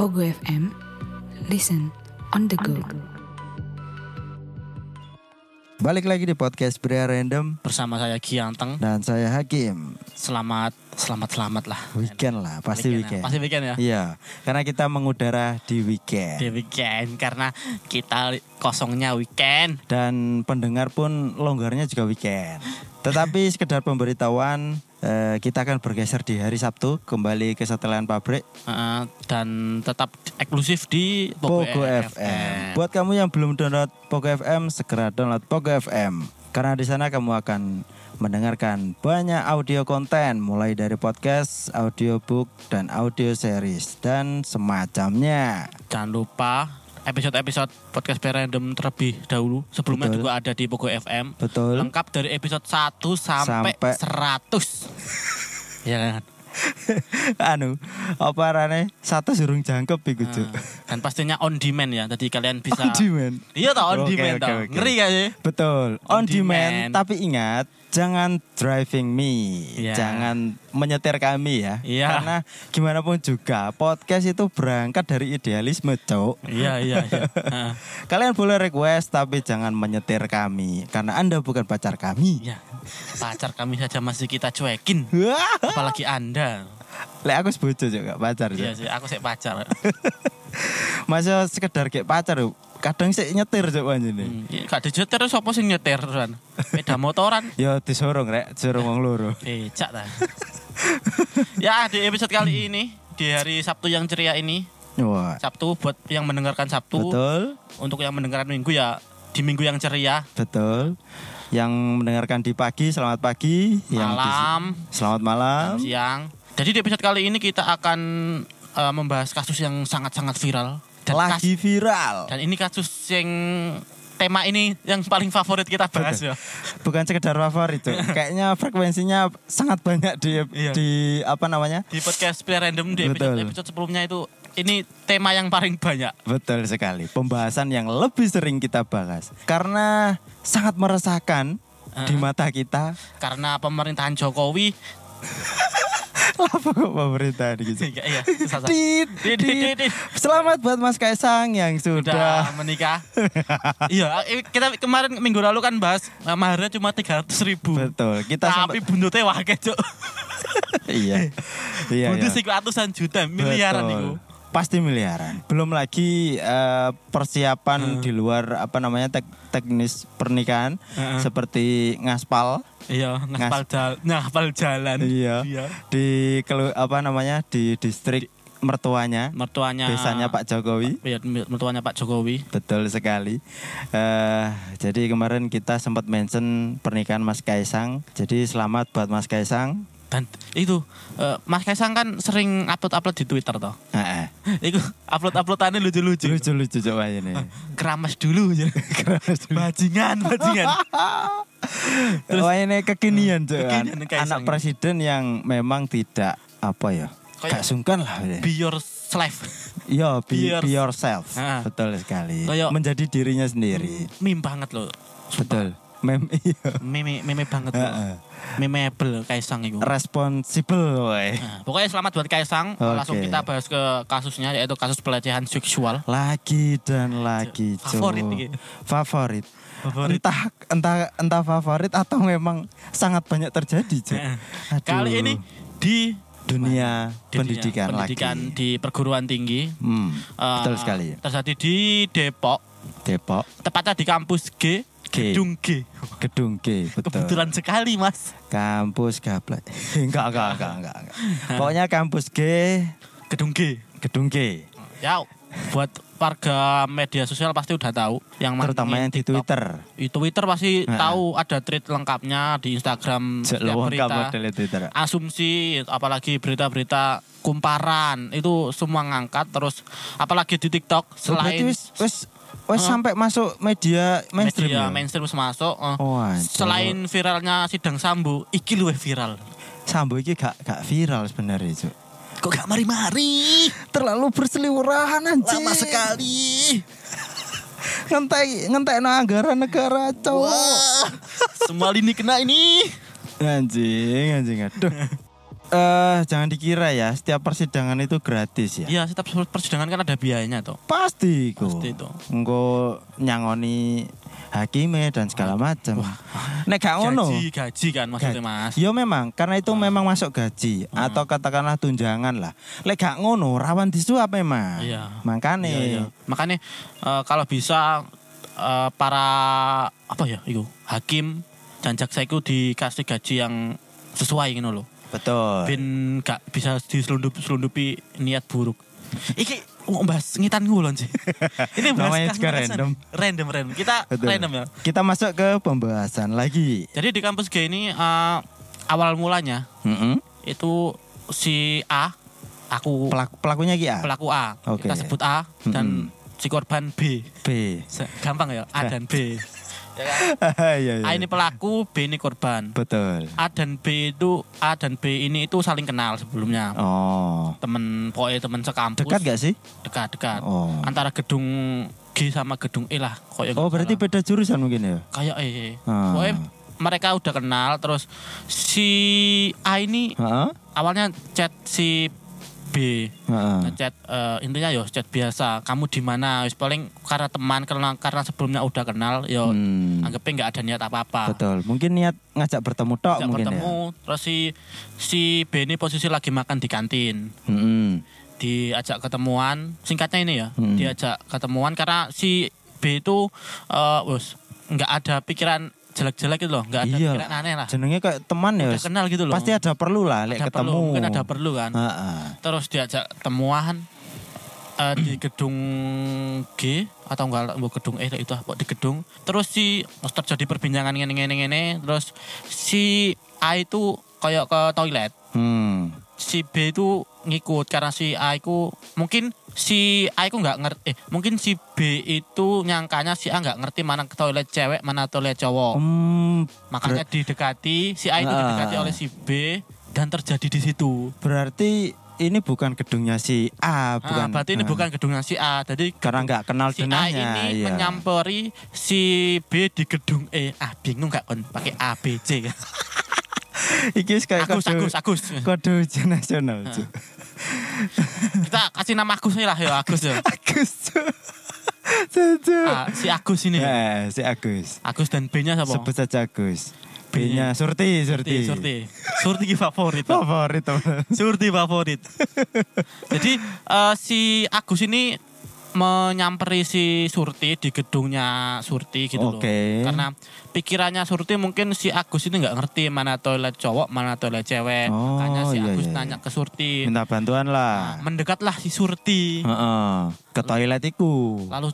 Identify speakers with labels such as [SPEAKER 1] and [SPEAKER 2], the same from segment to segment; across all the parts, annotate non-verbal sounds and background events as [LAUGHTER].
[SPEAKER 1] Ogo FM. Listen on the go.
[SPEAKER 2] Balik lagi di podcast Bria Random
[SPEAKER 3] bersama saya Gianteng.
[SPEAKER 2] dan saya Hakim.
[SPEAKER 3] Selamat, selamat, selamat lah.
[SPEAKER 2] Weekend lah, pasti weekend.
[SPEAKER 3] ya. Pasti weekend ya.
[SPEAKER 2] Iya, karena kita mengudara di
[SPEAKER 3] Di
[SPEAKER 2] weekend.
[SPEAKER 3] weekend karena kita li- kosongnya weekend.
[SPEAKER 2] Dan pendengar pun longgarnya juga weekend. Tetapi sekedar pemberitahuan, eh, kita akan bergeser di hari Sabtu kembali ke setelan pabrik
[SPEAKER 3] Heeh, dan tetap eksklusif di
[SPEAKER 2] Pogo, FM. Buat kamu yang belum download Pogo FM, segera download Pogo FM. Karena di sana kamu akan mendengarkan banyak audio konten mulai dari podcast, audiobook, dan audio series dan semacamnya. [LAUGHS]
[SPEAKER 3] Jangan lupa episode-episode podcast Random terlebih dahulu. Sebelumnya
[SPEAKER 2] Betul.
[SPEAKER 3] juga ada di Pogo FM.
[SPEAKER 2] Betul.
[SPEAKER 3] Lengkap dari episode 1 sampai,
[SPEAKER 2] Sampai. [LAUGHS]
[SPEAKER 3] 100. Iya kan?
[SPEAKER 2] anu, apa rane? Satu surung jangkep iku, Cuk.
[SPEAKER 3] Heeh. dan pastinya on demand ya. Jadi kalian
[SPEAKER 2] On
[SPEAKER 3] bisa
[SPEAKER 2] demand.
[SPEAKER 3] Iya toh on
[SPEAKER 2] Oke,
[SPEAKER 3] demand
[SPEAKER 2] oke,
[SPEAKER 3] toh.
[SPEAKER 2] oke.
[SPEAKER 3] Ngeri gak sih?
[SPEAKER 2] Betul, on,
[SPEAKER 3] On
[SPEAKER 2] demand,
[SPEAKER 3] demand.
[SPEAKER 2] tapi ingat jangan driving me,
[SPEAKER 3] Iya.
[SPEAKER 2] jangan menyetir kami ya.
[SPEAKER 3] Iya.
[SPEAKER 2] Karena gimana pun juga podcast itu berangkat dari idealisme, Cok.
[SPEAKER 3] Iya iya
[SPEAKER 2] [LAUGHS]
[SPEAKER 3] iya. Heeh.
[SPEAKER 2] Kalian boleh request tapi jangan menyetir kami karena Anda bukan pacar kami. [LAUGHS]
[SPEAKER 3] Ya, pacar kami saja masih kita cuekin,
[SPEAKER 2] Wah,
[SPEAKER 3] apalagi Anda.
[SPEAKER 2] Lek aku sebojo juga gak pacar.
[SPEAKER 3] Iya
[SPEAKER 2] Cok.
[SPEAKER 3] sih, aku sih pacar.
[SPEAKER 2] Masa sekedar kayak pacar, Cok. kadang sih nyetir Cok anjene.
[SPEAKER 3] Hmm, iya, Gak dijeter terus apa sih nyetir kan? Beda motoran.
[SPEAKER 2] Ya disorong rek, disorong wong loro.
[SPEAKER 3] Becak ta. ya, di episode kali ini di hari Sabtu yang ceria ini,
[SPEAKER 2] Wah.
[SPEAKER 3] Sabtu buat yang mendengarkan Sabtu,
[SPEAKER 2] Betul,
[SPEAKER 3] untuk yang mendengarkan Minggu ya di Minggu yang ceria,
[SPEAKER 2] betul. Yang mendengarkan di pagi, selamat pagi. Yang di-
[SPEAKER 3] malam,
[SPEAKER 2] Selamat malam.
[SPEAKER 3] siang. Jadi di episode kali ini kita akan eh, membahas kasus yang sangat-sangat viral dan kas-
[SPEAKER 2] Lagi viral.
[SPEAKER 3] Dan ini kasus yang tema ini yang paling favorit kita bahas ya.
[SPEAKER 2] Bukan sekedar favorit
[SPEAKER 3] [LAUGHS]
[SPEAKER 2] itu. Kayaknya frekuensinya sangat banyak di
[SPEAKER 3] Iya.
[SPEAKER 2] di apa namanya?
[SPEAKER 3] Di podcast Play Random di episode,
[SPEAKER 2] Betul.
[SPEAKER 3] episode sebelumnya itu ini tema yang paling banyak.
[SPEAKER 2] Betul sekali. Pembahasan yang lebih sering kita bahas karena sangat meresahkan di mata kita. [LAUGHS]
[SPEAKER 3] Karena pemerintahan Jokowi [LAUGHS]
[SPEAKER 2] Apa kok pemerintahan gitu?
[SPEAKER 3] [LAUGHS] iya iya susah, susah.
[SPEAKER 2] Tit,
[SPEAKER 3] Tit, tit,
[SPEAKER 2] tit.
[SPEAKER 3] tit.
[SPEAKER 2] Selamat buat Mas Kaisang yang sudah
[SPEAKER 3] sudah
[SPEAKER 2] [LAUGHS]
[SPEAKER 3] menikah. iya, eh, kita kemarin minggu lalu kan bahas eh, maharnya cuma 300 ribu.
[SPEAKER 2] Betul. Kita
[SPEAKER 3] Tapi
[SPEAKER 2] sempat-
[SPEAKER 3] bundutnya wakil cuk.
[SPEAKER 2] [LAUGHS]
[SPEAKER 3] [LAUGHS]
[SPEAKER 2] iya. iya. iya.
[SPEAKER 3] Buntut sih ratusan juta, miliaran
[SPEAKER 2] Betul.
[SPEAKER 3] itu.
[SPEAKER 2] Pasti miliaran. Belum lagi eh, persiapan di luar apa namanya tek- teknis pernikahan
[SPEAKER 3] Heeh.
[SPEAKER 2] seperti ngaspal
[SPEAKER 3] Iya, ngaspal jalan, ngaspal jalan.
[SPEAKER 2] Iya. di kelu- apa namanya di distrik mertuanya,
[SPEAKER 3] Mertuanya
[SPEAKER 2] desanya Pak Jokowi.
[SPEAKER 3] Iya, mertuanya Pak Jokowi.
[SPEAKER 2] Betul sekali. eh jadi kemarin kita sempat mention pernikahan Mas Kaisang. Jadi selamat buat Mas Kaisang.
[SPEAKER 3] dan itu eh, Mas Kaisang kan sering upload upload di Twitter toh [LAUGHS]
[SPEAKER 2] Heeh.
[SPEAKER 3] itu upload uploadannya lucu lucu
[SPEAKER 2] Lucu lucu coba ini.
[SPEAKER 3] keramas
[SPEAKER 2] [LAUGHS]
[SPEAKER 3] dulu ya. bajingan bajingan
[SPEAKER 2] Wah Oh, ini kekinian Cuk.
[SPEAKER 3] Kekinian
[SPEAKER 2] Anak
[SPEAKER 3] Kaisang.
[SPEAKER 2] presiden yang memang tidak apa ya.
[SPEAKER 3] Kayak-
[SPEAKER 2] Gak sungkan lah. ya.
[SPEAKER 3] be your slave
[SPEAKER 2] Yo, be,
[SPEAKER 3] Be your-
[SPEAKER 2] be yourself.
[SPEAKER 3] Ah.
[SPEAKER 2] Betul sekali.
[SPEAKER 3] Kayak- Hmm.
[SPEAKER 2] Menjadi dirinya sendiri.
[SPEAKER 3] meme banget loh
[SPEAKER 2] Betul. Mem [LAUGHS] iya.
[SPEAKER 3] meme meme banget
[SPEAKER 2] Heeh.
[SPEAKER 3] loh memeable Kaisang itu
[SPEAKER 2] Responsible woy.
[SPEAKER 3] Nah, pokoknya selamat buat Kaisang
[SPEAKER 2] Oke.
[SPEAKER 3] langsung kita bahas ke kasusnya yaitu kasus pelecehan seksual
[SPEAKER 2] Lagi dan lagi Cuk.
[SPEAKER 3] Favorit iki.
[SPEAKER 2] Favorit.
[SPEAKER 3] Favorit.
[SPEAKER 2] Entah entah entah favorit atau memang sangat banyak terjadi, Cuk. Aduh.
[SPEAKER 3] kali ini di
[SPEAKER 2] dunia,
[SPEAKER 3] di
[SPEAKER 2] pendidikan,
[SPEAKER 3] dunia pendidikan
[SPEAKER 2] lagi.
[SPEAKER 3] di perguruan tinggi
[SPEAKER 2] Hmm,
[SPEAKER 3] Eh,
[SPEAKER 2] betul sekali.
[SPEAKER 3] terjadi di Depok
[SPEAKER 2] Depok,
[SPEAKER 3] tepatnya di kampus G,
[SPEAKER 2] G.
[SPEAKER 3] gedung G.
[SPEAKER 2] Gedung G, betul.
[SPEAKER 3] Kebetulan sekali, Mas.
[SPEAKER 2] Kampus gablek. [LAUGHS] enggak, enggak, enggak, enggak, enggak. Pokoknya kampus G,
[SPEAKER 3] Gedung G.
[SPEAKER 2] gedung G.
[SPEAKER 3] Ya, buat warga media sosial pasti udah tahu yang main
[SPEAKER 2] Terutama yang di
[SPEAKER 3] TikTok.
[SPEAKER 2] Twitter.
[SPEAKER 3] Di Twitter pasti
[SPEAKER 2] Heeh.
[SPEAKER 3] tahu ada tweet lengkapnya di Instagram
[SPEAKER 2] Jek
[SPEAKER 3] setiap
[SPEAKER 2] lowong
[SPEAKER 3] berita. Ah,
[SPEAKER 2] model Twitter.
[SPEAKER 3] Asumsi apalagi berita-berita kumparan itu semua ngangkat terus apalagi di TikTok
[SPEAKER 2] Oh, Berarti
[SPEAKER 3] selain Oh.
[SPEAKER 2] wis wis wis sampai masuk media mainstream.
[SPEAKER 3] media
[SPEAKER 2] ya?
[SPEAKER 3] mainstream wis masuk eh,
[SPEAKER 2] Oh, anjir.
[SPEAKER 3] selain viralnya sidang sambu iki luwih viral
[SPEAKER 2] Sambo iki gak gak viral sebenarnya, Cuk.
[SPEAKER 3] kok gak mari-mari
[SPEAKER 2] Terlalu berseliweran anjing.
[SPEAKER 3] lama sekali
[SPEAKER 2] Ngentai ngentai anggaran negara, Cuk.
[SPEAKER 3] Wah, semua lini kena ini. [LAUGHS]
[SPEAKER 2] Anjing, anjing aduh. eh jangan dikira ya, setiap persidangan itu gratis ya.
[SPEAKER 3] Iya, setiap persidangan kan ada biayanya toh.
[SPEAKER 2] Pasti kok.
[SPEAKER 3] Pasti toh.
[SPEAKER 2] Engko nyangoni hakime dan segala macam. Nek gak Ah, ngono. Iya.
[SPEAKER 3] Gaji, gaji kan maksudnya Mas.
[SPEAKER 2] Yo memang karena itu memang masuk gaji
[SPEAKER 3] Hmm.
[SPEAKER 2] atau katakanlah tunjangan lah. Lek gak ngono rawan disuap memang.
[SPEAKER 3] Iya.
[SPEAKER 2] Makane
[SPEAKER 3] Iya, iya. Makanya eh, kalau bisa eh, para apa ya itu hakim dan jaksa itu dikasih gaji yang sesuai gitu loh.
[SPEAKER 2] betul.
[SPEAKER 3] Ben gak bisa diselundup selundupi niat buruk. Iki mau bahas ngitan ngulon
[SPEAKER 2] [LAUGHS]
[SPEAKER 3] sih. Ini bahas
[SPEAKER 2] Namanya juga
[SPEAKER 3] kasus-kasus
[SPEAKER 2] random.
[SPEAKER 3] Random random. Kita
[SPEAKER 2] Betul.
[SPEAKER 3] random ya.
[SPEAKER 2] Kita masuk ke pembahasan lagi.
[SPEAKER 3] Jadi di kampus gay ini eh, awal mulanya
[SPEAKER 2] Mm-mm.
[SPEAKER 3] itu si A aku
[SPEAKER 2] Pelaku, pelakunya Ki A.
[SPEAKER 3] pelaku A.
[SPEAKER 2] Oke.
[SPEAKER 3] Kita sebut A dan si korban B.
[SPEAKER 2] B. [LAUGHS]
[SPEAKER 3] Se- Gampang ya, A dan B. Ya kan?
[SPEAKER 2] Iya, iya.
[SPEAKER 3] A ini pelaku, B ini korban.
[SPEAKER 2] Betul.
[SPEAKER 3] A dan B itu A dan B ini itu saling kenal sebelumnya.
[SPEAKER 2] Oh.
[SPEAKER 3] Temen poe temen sekampus.
[SPEAKER 2] Dekat gak sih?
[SPEAKER 3] Dekat, dekat.
[SPEAKER 2] Oh.
[SPEAKER 3] Antara gedung G sama gedung E lah. Kayak
[SPEAKER 2] Oh berarti beda jurusan mungkin ya?
[SPEAKER 3] kayak E.
[SPEAKER 2] Ah.
[SPEAKER 3] Pokoknya mereka udah kenal terus si A ini
[SPEAKER 2] Heeh.
[SPEAKER 3] awalnya chat si B
[SPEAKER 2] Heeh.
[SPEAKER 3] ngechat eh, intinya yo chat biasa kamu di mana wis paling karena teman karena karena sebelumnya udah kenal yo
[SPEAKER 2] Hmm.
[SPEAKER 3] anggapnya nggak ada niat apa apa
[SPEAKER 2] Betul. Mungkin niat ngajak bertemu tok
[SPEAKER 3] Ajak
[SPEAKER 2] mungkin
[SPEAKER 3] Ah. bertemu
[SPEAKER 2] ya.
[SPEAKER 3] terus si si B ini posisi lagi makan di kantin
[SPEAKER 2] Mm-mm.
[SPEAKER 3] diajak ketemuan singkatnya ini ya
[SPEAKER 2] Hmm.
[SPEAKER 3] diajak ketemuan karena si B itu eh, wes nggak ada pikiran jelek-jelek gitu loh nggak ada
[SPEAKER 2] Iya.
[SPEAKER 3] pikiran aneh lah
[SPEAKER 2] Jenenge kayak teman ya.
[SPEAKER 3] udah kenal gitu loh
[SPEAKER 2] Pasti ada perlu lah lek
[SPEAKER 3] Ada
[SPEAKER 2] ketemu.
[SPEAKER 3] perlu mungkin ada perlu kan
[SPEAKER 2] Heeh.
[SPEAKER 3] terus diajak temuan eh, di gedung G atau enggak bu gedung E itu apa di gedung terus si terus terjadi perbincangan ngene ngene ngene terus si A itu kayak ke toilet
[SPEAKER 2] Hmm.
[SPEAKER 3] si B itu ngikut karena si A itu mungkin si A itu nggak ngerti eh, mungkin si B itu nyangkanya si A nggak ngerti mana ke toilet cewek mana toilet cowok
[SPEAKER 2] Hmm,
[SPEAKER 3] Oh. makanya didekati si A itu
[SPEAKER 2] Ah.
[SPEAKER 3] didekati oleh si B dan terjadi di situ
[SPEAKER 2] berarti ini bukan gedungnya si A, bukan.
[SPEAKER 3] Ah, berarti ini
[SPEAKER 2] Ah.
[SPEAKER 3] bukan gedungnya si A. Jadi
[SPEAKER 2] karena nggak kenal
[SPEAKER 3] si A
[SPEAKER 2] dengannya.
[SPEAKER 3] ini
[SPEAKER 2] iya.
[SPEAKER 3] menyamperi si B di gedung E. Ah, bingung nggak kon pakai A
[SPEAKER 2] Eh,
[SPEAKER 3] B C.
[SPEAKER 2] Iki wis kayak kode-
[SPEAKER 3] Agus, Agus, Agus. Ah.
[SPEAKER 2] kode ujian nasional. Cuk.
[SPEAKER 3] Kita kasih nama Agus nih lah ya Agus ya.
[SPEAKER 2] Agus. Cuk. [LAUGHS] Cuk, Cuk.
[SPEAKER 3] Ah, si Agus ini.
[SPEAKER 2] Ya, si Agus.
[SPEAKER 3] Agus dan B-nya siapa?
[SPEAKER 2] Sebut saja Agus. B-nya Surti,
[SPEAKER 3] Surti,
[SPEAKER 2] Surti.
[SPEAKER 3] Surti. Surti ki favorit.
[SPEAKER 2] Favorit teman.
[SPEAKER 3] Surti favorit. [LAUGHS] Jadi eh, si Agus ini menyamperi si Surti di gedungnya Surti gitu
[SPEAKER 2] Oke.
[SPEAKER 3] loh. Karena pikirannya Surti mungkin si Agus ini nggak ngerti mana toilet cowok, mana toilet cewek.
[SPEAKER 2] Oh,
[SPEAKER 3] Makanya si
[SPEAKER 2] iya,
[SPEAKER 3] Agus
[SPEAKER 2] iya,
[SPEAKER 3] nanya
[SPEAKER 2] iya.
[SPEAKER 3] ke Surti.
[SPEAKER 2] Minta bantuan
[SPEAKER 3] Nah,
[SPEAKER 2] lah.
[SPEAKER 3] mendekatlah si
[SPEAKER 2] [LAUGHS]
[SPEAKER 3] Surti.
[SPEAKER 2] Heeh. Ke toilet iku.
[SPEAKER 3] Lalu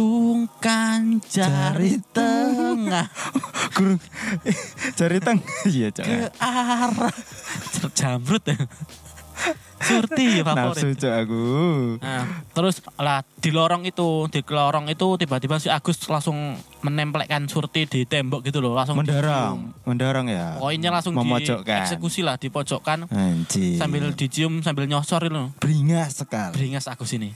[SPEAKER 3] diacungkan jari,
[SPEAKER 2] Jari
[SPEAKER 3] tengah
[SPEAKER 2] [LAUGHS] Guru jari teng. Iya, Cuk.
[SPEAKER 3] ke
[SPEAKER 2] [LAUGHS]
[SPEAKER 3] arah jamrut ya. Surti favorit.
[SPEAKER 2] Nafsu Cuk aku.
[SPEAKER 3] Nah, terus lah di lorong itu, di lorong itu tiba-tiba si Agus langsung menempelkan Surti di tembok gitu loh, langsung
[SPEAKER 2] Mendorong, mendorong ya.
[SPEAKER 3] dicium. Koinnya langsung
[SPEAKER 2] Memojokkan. Iya.
[SPEAKER 3] dieksekusi lah, dipojokkan
[SPEAKER 2] Anjir.
[SPEAKER 3] sambil dicium sambil nyosor itu. loh.
[SPEAKER 2] beringas sekali.
[SPEAKER 3] Beringas Agus ini.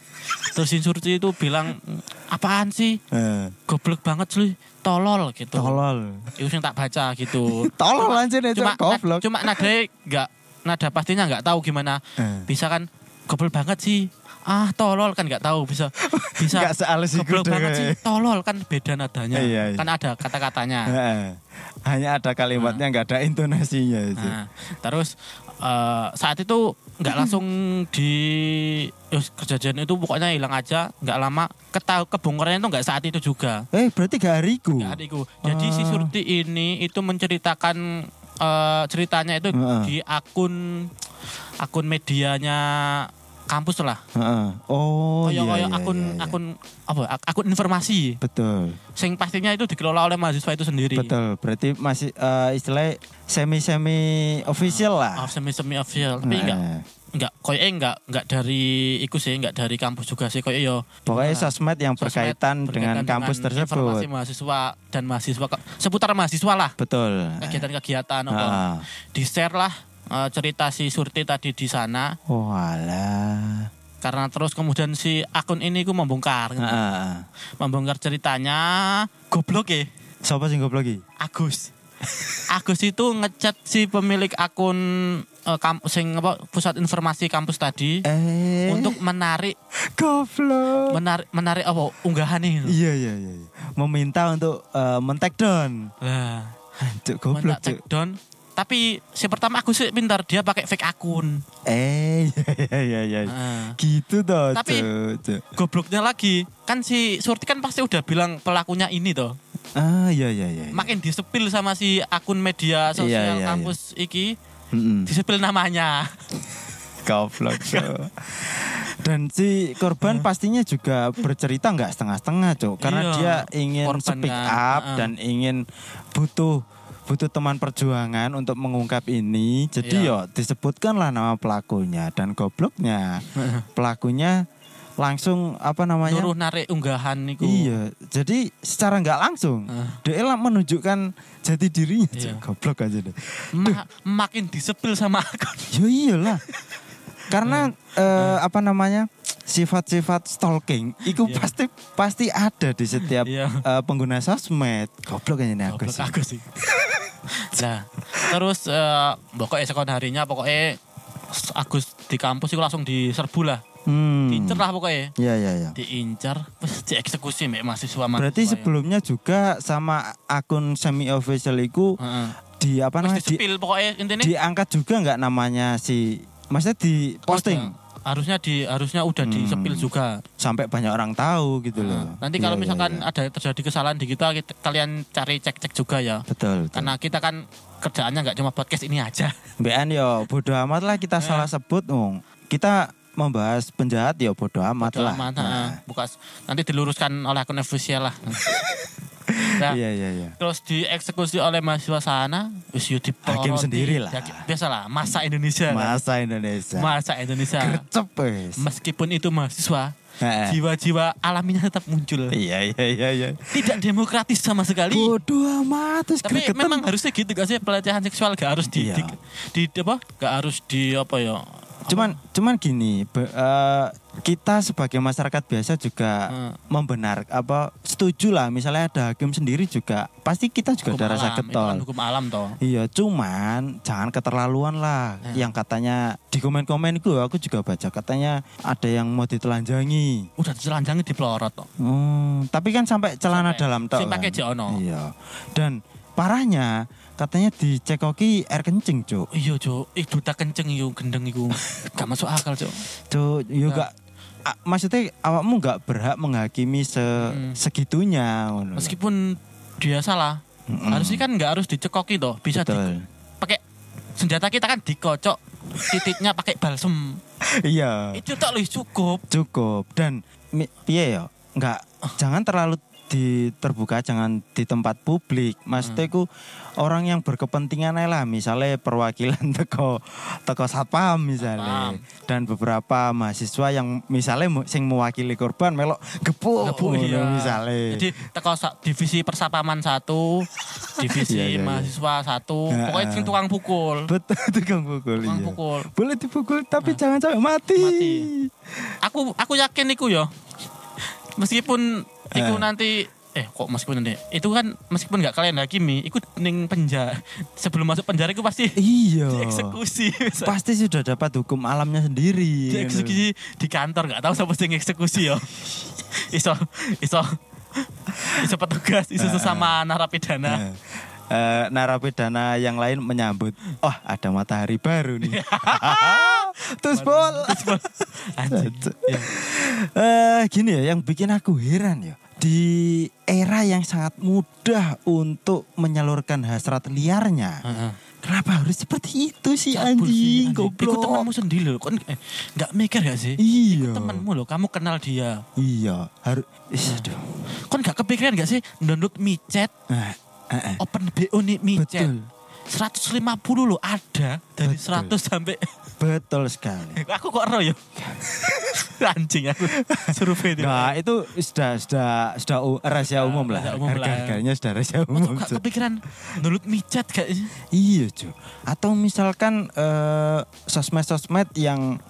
[SPEAKER 3] Terus si Surti itu bilang, "Apaan sih?
[SPEAKER 2] Eh,
[SPEAKER 3] Goblok banget sih, tolol gitu."
[SPEAKER 2] tolol.
[SPEAKER 3] Itu yang tak baca gitu.
[SPEAKER 2] Tolol anjir [LAUGHS] itu
[SPEAKER 3] cuma eh,
[SPEAKER 2] goblok.
[SPEAKER 3] cuma nadanya nggak nada pastinya nggak tahu gimana.
[SPEAKER 2] Eh.
[SPEAKER 3] Bisa kan goblok banget sih. Ah tolol kan nggak tahu bisa
[SPEAKER 2] [LAUGHS]
[SPEAKER 3] bisa
[SPEAKER 2] Nggak sehalus iku
[SPEAKER 3] goblok
[SPEAKER 2] deh.
[SPEAKER 3] banget sih tolol kan beda nadanya
[SPEAKER 2] eh. Iya, iya.
[SPEAKER 3] kan ada
[SPEAKER 2] [LAUGHS]
[SPEAKER 3] kata-katanya.
[SPEAKER 2] Heeh. Hanya ada kalimatnya nggak ada intonasinya itu.
[SPEAKER 3] Nah, terus eh, saat itu nggak langsung di Yus, kejadian itu pokoknya hilang aja nggak lama ketahu kebongkarannya itu nggak saat itu juga
[SPEAKER 2] Eh berarti gak hariku.
[SPEAKER 3] nggak ada itu. Jadi
[SPEAKER 2] Ah.
[SPEAKER 3] si Surti ini itu menceritakan eh, ceritanya itu
[SPEAKER 2] Heeh.
[SPEAKER 3] di akun akun medianya kampus lah.
[SPEAKER 2] Heeh. Oh iya, iya,
[SPEAKER 3] Kayak- kayak akun
[SPEAKER 2] iya, iya.
[SPEAKER 3] akun apa ak- akun informasi
[SPEAKER 2] Betul,
[SPEAKER 3] sing pastinya itu dikelola oleh mahasiswa itu sendiri.
[SPEAKER 2] betul. Berarti masih eh, istilahnya semi-semi official lah. Eh,
[SPEAKER 3] Off semi semi official tapi enggak
[SPEAKER 2] Heeh.
[SPEAKER 3] enggak koyo enggak enggak dari iku sih enggak dari kampus juga sih koyo yo
[SPEAKER 2] Pokoknya sosmed yang
[SPEAKER 3] sosmed
[SPEAKER 2] berkaitan, dengan kampus tersebut.
[SPEAKER 3] Informasi mahasiswa dan mahasiswa ke- seputar mahasiswa lah
[SPEAKER 2] Betul.
[SPEAKER 3] Eh,
[SPEAKER 2] Eh,
[SPEAKER 3] kegiatan-kegiatan apa.
[SPEAKER 2] Heeh.
[SPEAKER 3] Di-share lah eh, cerita si Surti tadi di sana
[SPEAKER 2] Oh alah. Eh,
[SPEAKER 3] karena terus kemudian si akun ini ku membongkar
[SPEAKER 2] Nah. Heeh.
[SPEAKER 3] membongkar ceritanya goblok ya
[SPEAKER 2] [LAUGHS] Siapa sih goblok iki?
[SPEAKER 3] Agus Agus itu ngechat si pemilik akun eh, kamp- sing apa pusat informasi kampus tadi
[SPEAKER 2] Eh,
[SPEAKER 3] untuk menarik
[SPEAKER 2] goblok.
[SPEAKER 3] menarik menarik apa unggahan nih.
[SPEAKER 2] Iya iya iya. iya. Meminta untuk eh, men-take down.
[SPEAKER 3] Lah,
[SPEAKER 2] Hancur
[SPEAKER 3] mana
[SPEAKER 2] goblok cuk.
[SPEAKER 3] take down. Tapi si pertama aku sih pintar dia pakai fake akun.
[SPEAKER 2] Eh [LAUGHS] iya iya iya. iya.
[SPEAKER 3] Heeh.
[SPEAKER 2] Gitu toh
[SPEAKER 3] Ah. Tapi-
[SPEAKER 2] cuk, cuk.
[SPEAKER 3] Gobloknya lagi kan si Surti kan pasti udah bilang pelakunya ini toh.
[SPEAKER 2] Ah iya iya iya. iya.
[SPEAKER 3] Makin disepil sama si akun media
[SPEAKER 2] Iya,
[SPEAKER 3] sosial
[SPEAKER 2] iya, Hmm.
[SPEAKER 3] kampus iki
[SPEAKER 2] Mm-mm.
[SPEAKER 3] disepil namanya.
[SPEAKER 2] Goblok. Cuk. [LAUGHS] Dan si korban pastinya juga bercerita nggak setengah-setengah, Cuk. Karena
[SPEAKER 3] Hmm. Iya,
[SPEAKER 2] dia ingin
[SPEAKER 3] korban
[SPEAKER 2] speak
[SPEAKER 3] kan,
[SPEAKER 2] up
[SPEAKER 3] heeh.
[SPEAKER 2] dan ingin butuh butuh teman perjuangan untuk mengungkap ini. Jadi
[SPEAKER 3] Iya.
[SPEAKER 2] yo disebutkanlah nama pelakunya dan
[SPEAKER 3] [LAUGHS]
[SPEAKER 2] gobloknya. Pelakunya langsung apa namanya?
[SPEAKER 3] Nyuruh narik unggahan niku.
[SPEAKER 2] Iya, jadi secara nggak langsung
[SPEAKER 3] Heeh.
[SPEAKER 2] dia lah menunjukkan jati dirinya, Cuk.
[SPEAKER 3] Iya.
[SPEAKER 2] goblok aja deh.
[SPEAKER 3] Ma- makin disepil sama akun.
[SPEAKER 2] Ya iyalah. Karena
[SPEAKER 3] Hmm.
[SPEAKER 2] eh, apa namanya? sifat-sifat stalking itu
[SPEAKER 3] Iya.
[SPEAKER 2] pasti pasti ada di setiap
[SPEAKER 3] Iya.
[SPEAKER 2] eh, pengguna sosmed. Goblok ini nih Iya, aku
[SPEAKER 3] Goblok Ah,
[SPEAKER 2] sih.
[SPEAKER 3] aku
[SPEAKER 2] [LAUGHS]
[SPEAKER 3] sih. nah, terus eh, pokoknya sekon harinya pokoknya Agus di kampus itu langsung diserbu lah.
[SPEAKER 2] Hmm.
[SPEAKER 3] Diincer lah pokoknya.
[SPEAKER 2] Iya iya iya.
[SPEAKER 3] Diincer, terus dieksekusi mek mahasiswa
[SPEAKER 2] Berarti sebelumnya juga sama akun semi official itu
[SPEAKER 3] Heeh.
[SPEAKER 2] di apa
[SPEAKER 3] Hmm.
[SPEAKER 2] namanya?
[SPEAKER 3] Terus
[SPEAKER 2] Kan Di,
[SPEAKER 3] disepil pokoknya intinya
[SPEAKER 2] diangkat juga nggak namanya si maksudnya di posting
[SPEAKER 3] harusnya di harusnya udah disepil juga. Nah,
[SPEAKER 2] sampai banyak orang tahu gitu loh.
[SPEAKER 3] Ah, Nanti kalau
[SPEAKER 2] Iya, iya,
[SPEAKER 3] misalkan
[SPEAKER 2] iya.
[SPEAKER 3] ada terjadi kesalahan di kita, kita- kalian cari cek-cek juga ya.
[SPEAKER 2] betul, betul.
[SPEAKER 3] Karena kita kan kerjaannya nggak cuma podcast ini aja.
[SPEAKER 2] Mbekan yo bodoh amat lah kita
[SPEAKER 3] Eh.
[SPEAKER 2] salah sebut wong. Kita membahas penjahat yo bodoh amat lah.
[SPEAKER 3] Aman,
[SPEAKER 2] Nah,
[SPEAKER 3] heeh. Buka- nanti diluruskan oleh akun official
[SPEAKER 2] [LAUGHS]
[SPEAKER 3] lah. Nah,
[SPEAKER 2] Iya iya iya.
[SPEAKER 3] Terus dieksekusi oleh mahasiswa sana, wis yo ya, diploroti.
[SPEAKER 2] Hakim sendiri lah.
[SPEAKER 3] Hakim- Biasalah, masa Indonesia. lah.
[SPEAKER 2] Masa Indonesia.
[SPEAKER 3] Ya. Masa Indonesia.
[SPEAKER 2] Gercep wis.
[SPEAKER 3] Meskipun itu mahasiswa,
[SPEAKER 2] Heeh.
[SPEAKER 3] jiwa-jiwa alaminya tetap muncul.
[SPEAKER 2] Iya iya iya iya.
[SPEAKER 3] Tidak demokratis sama sekali.
[SPEAKER 2] Bodoh amat terus
[SPEAKER 3] Tapi
[SPEAKER 2] gregetan.
[SPEAKER 3] memang harusnya gitu gak sih pelecehan seksual gak harus di,
[SPEAKER 2] Iya.
[SPEAKER 3] di- di- di- apa? Gak harus di apa ya?
[SPEAKER 2] cuman cuman gini be- eh, kita sebagai masyarakat biasa juga
[SPEAKER 3] Hmm.
[SPEAKER 2] membenar apa setuju lah misalnya ada hakim sendiri juga pasti kita juga
[SPEAKER 3] Hukum
[SPEAKER 2] ada rasa
[SPEAKER 3] alam, itu
[SPEAKER 2] getol
[SPEAKER 3] kan hukum alam toh.
[SPEAKER 2] Iya, cuman jangan keterlaluan lah.
[SPEAKER 3] Iya.
[SPEAKER 2] Yang katanya di komen-komen gue, aku juga baca katanya ada yang mau ditelanjangi.
[SPEAKER 3] Udah dicelanjangi diplorot toh.
[SPEAKER 2] Hmm, tapi kan sampai celana
[SPEAKER 3] Sampai-
[SPEAKER 2] dalam tok.
[SPEAKER 3] sing pakai
[SPEAKER 2] kan.
[SPEAKER 3] jek ono.
[SPEAKER 2] Iya. Dan parahnya katanya dicekoki air kencing, Cuk.
[SPEAKER 3] Iya, Cuk. Ih, duta kenceng yo gendeng
[SPEAKER 2] [LAUGHS]
[SPEAKER 3] iku. gak masuk akal, Cuk.
[SPEAKER 2] Cuk, yo
[SPEAKER 3] Nah.
[SPEAKER 2] gak a- maksudnya awakmu nggak berhak menghakimi se
[SPEAKER 3] Mm.
[SPEAKER 2] segitunya ngono.
[SPEAKER 3] Meskipun dia salah,
[SPEAKER 2] Mm-mm.
[SPEAKER 3] harusnya kan nggak harus dicekoki toh. Bisa di-
[SPEAKER 2] Betul.
[SPEAKER 3] pakai senjata kita kan dikocok titiknya pakai balsem.
[SPEAKER 2] iya.
[SPEAKER 3] Itu tak lebih cukup.
[SPEAKER 2] cukup dan mi- piye yo nggak jangan terlalu di terbuka jangan di tempat publik
[SPEAKER 3] Hmm.
[SPEAKER 2] maksudnya ku orang yang berkepentingan ae lah misalnya perwakilan [LAUGHS] teko teko satpam misalnya
[SPEAKER 3] Satpam.
[SPEAKER 2] dan beberapa mahasiswa yang misalnya mu- sing mewakili korban melok gepuk
[SPEAKER 3] Lebu,
[SPEAKER 2] ngono
[SPEAKER 3] iya.
[SPEAKER 2] misalnya
[SPEAKER 3] Jadi teko sa- divisi persapaman satu, divisi
[SPEAKER 2] Iya, iya, iya.
[SPEAKER 3] mahaswa satu,
[SPEAKER 2] Nah,
[SPEAKER 3] pokoknya sing tukang pukul.
[SPEAKER 2] betul [LAUGHS] tukang pukul
[SPEAKER 3] Tukang
[SPEAKER 2] iya.
[SPEAKER 3] pukul. Nah.
[SPEAKER 2] boleh dipukul tapi jangan sampai mati,
[SPEAKER 3] Mati. Aku aku yakin iku yo. Meskipun iku
[SPEAKER 2] Eh.
[SPEAKER 3] nanti eh kok meskipun nanti itu kan meskipun nggak kalian hakimi, iku ning penjara sebelum masuk penjara iku pasti
[SPEAKER 2] iya
[SPEAKER 3] dieksekusi.
[SPEAKER 2] pasti iya. sudah dapat hukum alamnya sendiri
[SPEAKER 3] dieksekusi di kantor nggak tahu siapa sing eksekusi yo. iso iso iso petugas, iso sesama narapidana.
[SPEAKER 2] Eh, eh, narapidana yang lain menyambut, oh ada matahari baru
[SPEAKER 3] [LAUGHS]
[SPEAKER 2] nih. Terus bol.
[SPEAKER 3] Anjing. Iya.
[SPEAKER 2] Eh, gini ya, yang bikin aku heran ya. Di era yang sangat mudah untuk menyalurkan hasrat liarnya.
[SPEAKER 3] Heeh.
[SPEAKER 2] Kenapa harus seperti itu sih
[SPEAKER 3] Cabul sih,
[SPEAKER 2] Iya, anjing?
[SPEAKER 3] Iku
[SPEAKER 2] Goblok.
[SPEAKER 3] temanmu sendiri loh. Kok eh, nggak mikir gak sih?
[SPEAKER 2] Iya.
[SPEAKER 3] Temanmu loh, kamu kenal dia.
[SPEAKER 2] Iya, harus Ih, aduh.
[SPEAKER 3] Kok nggak kepikiran gak sih download micet,
[SPEAKER 2] Eh, eh, eh.
[SPEAKER 3] open BO nih micet.
[SPEAKER 2] Betul.
[SPEAKER 3] 150 loh ada dari
[SPEAKER 2] Betul.
[SPEAKER 3] 100 sampai [LAUGHS]
[SPEAKER 2] Betul sekali.
[SPEAKER 3] aku kok ero ya. [LAUGHS] Anjing
[SPEAKER 2] [LAUGHS]
[SPEAKER 3] aku survei itu.
[SPEAKER 2] Nah, itu sudah sudah sudah u- rahasia umum lah.
[SPEAKER 3] rahasia umum lah.
[SPEAKER 2] Harga-harganya sudah rahasia
[SPEAKER 3] Kok
[SPEAKER 2] umum.
[SPEAKER 3] nggak
[SPEAKER 2] Cuk.
[SPEAKER 3] kepikiran download micet gak sih?
[SPEAKER 2] Iya Jo. Atau misalkan eh, sosmed-sosmed yang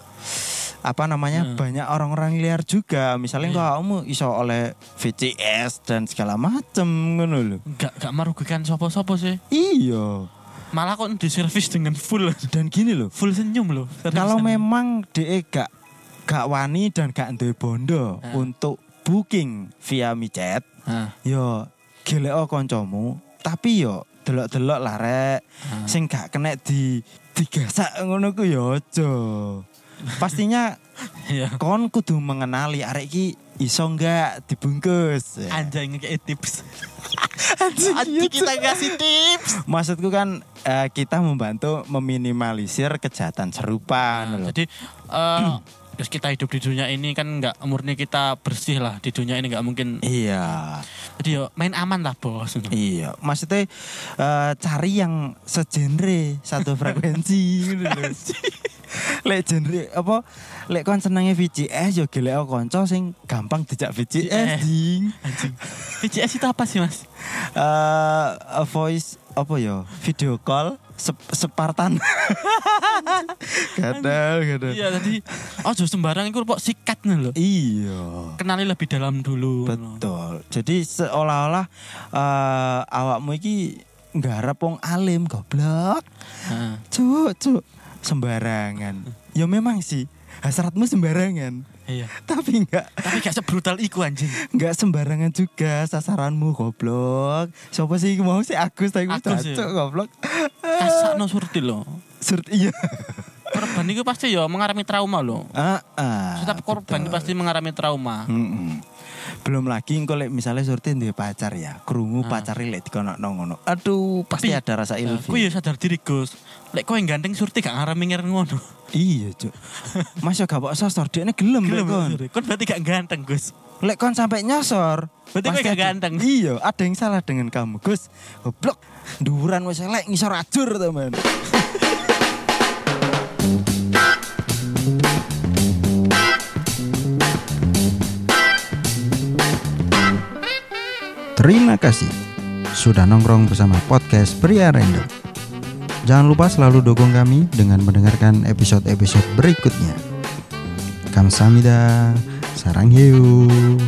[SPEAKER 2] apa namanya banyak orang-orang liar juga. Misalnya kamu iso oleh VCS dan segala macem ngono lho.
[SPEAKER 3] Nggak nggak merugikan sopo-sopo sih.
[SPEAKER 2] Iya.
[SPEAKER 3] malah kok di service dengan full [LAUGHS]
[SPEAKER 2] Dan gini loh,
[SPEAKER 3] full senyum loh
[SPEAKER 2] kalau memang DE gak gak wani dan gak duwe bondo
[SPEAKER 3] Ah.
[SPEAKER 2] untuk booking via micet, yo geleo koncomu, tapi yo delok-delok lah rek. sing gak kena di digasak ngono ku ya aja. Pastinya
[SPEAKER 3] ya
[SPEAKER 2] kon kudu mengenali arek iki iso nggak dibungkus. Ya.
[SPEAKER 3] anjay ngekei tips
[SPEAKER 2] [LAUGHS] Anjing, iya,
[SPEAKER 3] Anjing kita kasih tips
[SPEAKER 2] Maksudku kan eh, kita membantu meminimalisir kejahatan serupa.
[SPEAKER 3] Nah,
[SPEAKER 2] ngono lho.
[SPEAKER 3] jadi eh, terus kita hidup di dunia ini kan nggak murni kita bersih lah di dunia ini nggak mungkin
[SPEAKER 2] Iya,
[SPEAKER 3] jadi yo main aman lah bos
[SPEAKER 2] iya. Maksudnya eh, cari yang segenre, [LAUGHS] satu frekuensi gitu lho. Lek genre apa lek kon senenge VCS yo gelek kanca sing gampang dijak VCS ding.
[SPEAKER 3] anjing VCS itu apa sih mas
[SPEAKER 2] eh a voice apa ya video call sep Separtan [LAUGHS] gatel gatel
[SPEAKER 3] iya tadi oh jauh sembarang itu kok sikat nih loh
[SPEAKER 2] iya
[SPEAKER 3] kenali lebih dalam dulu
[SPEAKER 2] betul jadi seolah-olah eh awakmu iki nggarap wong alim goblok
[SPEAKER 3] Nah,
[SPEAKER 2] cuk cuk sembarangan ya memang sih hasratmu sembarangan
[SPEAKER 3] iya
[SPEAKER 2] tapi enggak
[SPEAKER 3] tapi gak sebrutal iku anjing
[SPEAKER 2] Enggak sembarangan juga sasaranmu goblok. Siapa sih mau sih Agus tapi
[SPEAKER 3] Agus, ya?
[SPEAKER 2] cacuk, goblok.
[SPEAKER 3] kasakno surti loh
[SPEAKER 2] Surt iya.
[SPEAKER 3] korban itu pasti yo mengalami trauma loh
[SPEAKER 2] Ah, ah,
[SPEAKER 3] setiap korban itu
[SPEAKER 2] betul.
[SPEAKER 3] pasti mengalami trauma
[SPEAKER 2] Mm-mm. Belum lagi engko lek misalnya Surti duwe pacar ya, krungu
[SPEAKER 3] Ah.
[SPEAKER 2] pacare lek dikonokno ngono. Aduh, pasti
[SPEAKER 3] Tapi-
[SPEAKER 2] ada rasa
[SPEAKER 3] Nah,
[SPEAKER 2] ilfil.
[SPEAKER 3] aku yo sadar diri Gus lek kowe ganteng surti gak ngarami ngeren ngono
[SPEAKER 2] Iya, Cuk. Mas yo gak kok sosor, dekne gelem lek
[SPEAKER 3] Gila
[SPEAKER 2] kon.
[SPEAKER 3] Gus. kon berarti gak ganteng Gus
[SPEAKER 2] Lek kon sampai nyosor.
[SPEAKER 3] Berarti kowe
[SPEAKER 2] pasti
[SPEAKER 3] gak
[SPEAKER 2] ada-
[SPEAKER 3] ganteng.
[SPEAKER 2] Iya, ada yang salah dengan kamu, Gus. Goblok. Duran wis elek ngisor ajur, teman. Terima kasih sudah nongkrong bersama podcast Pria Random. Jangan lupa selalu dukung kami dengan mendengarkan episode-episode berikutnya. Kamsahamnida, sarang hiu.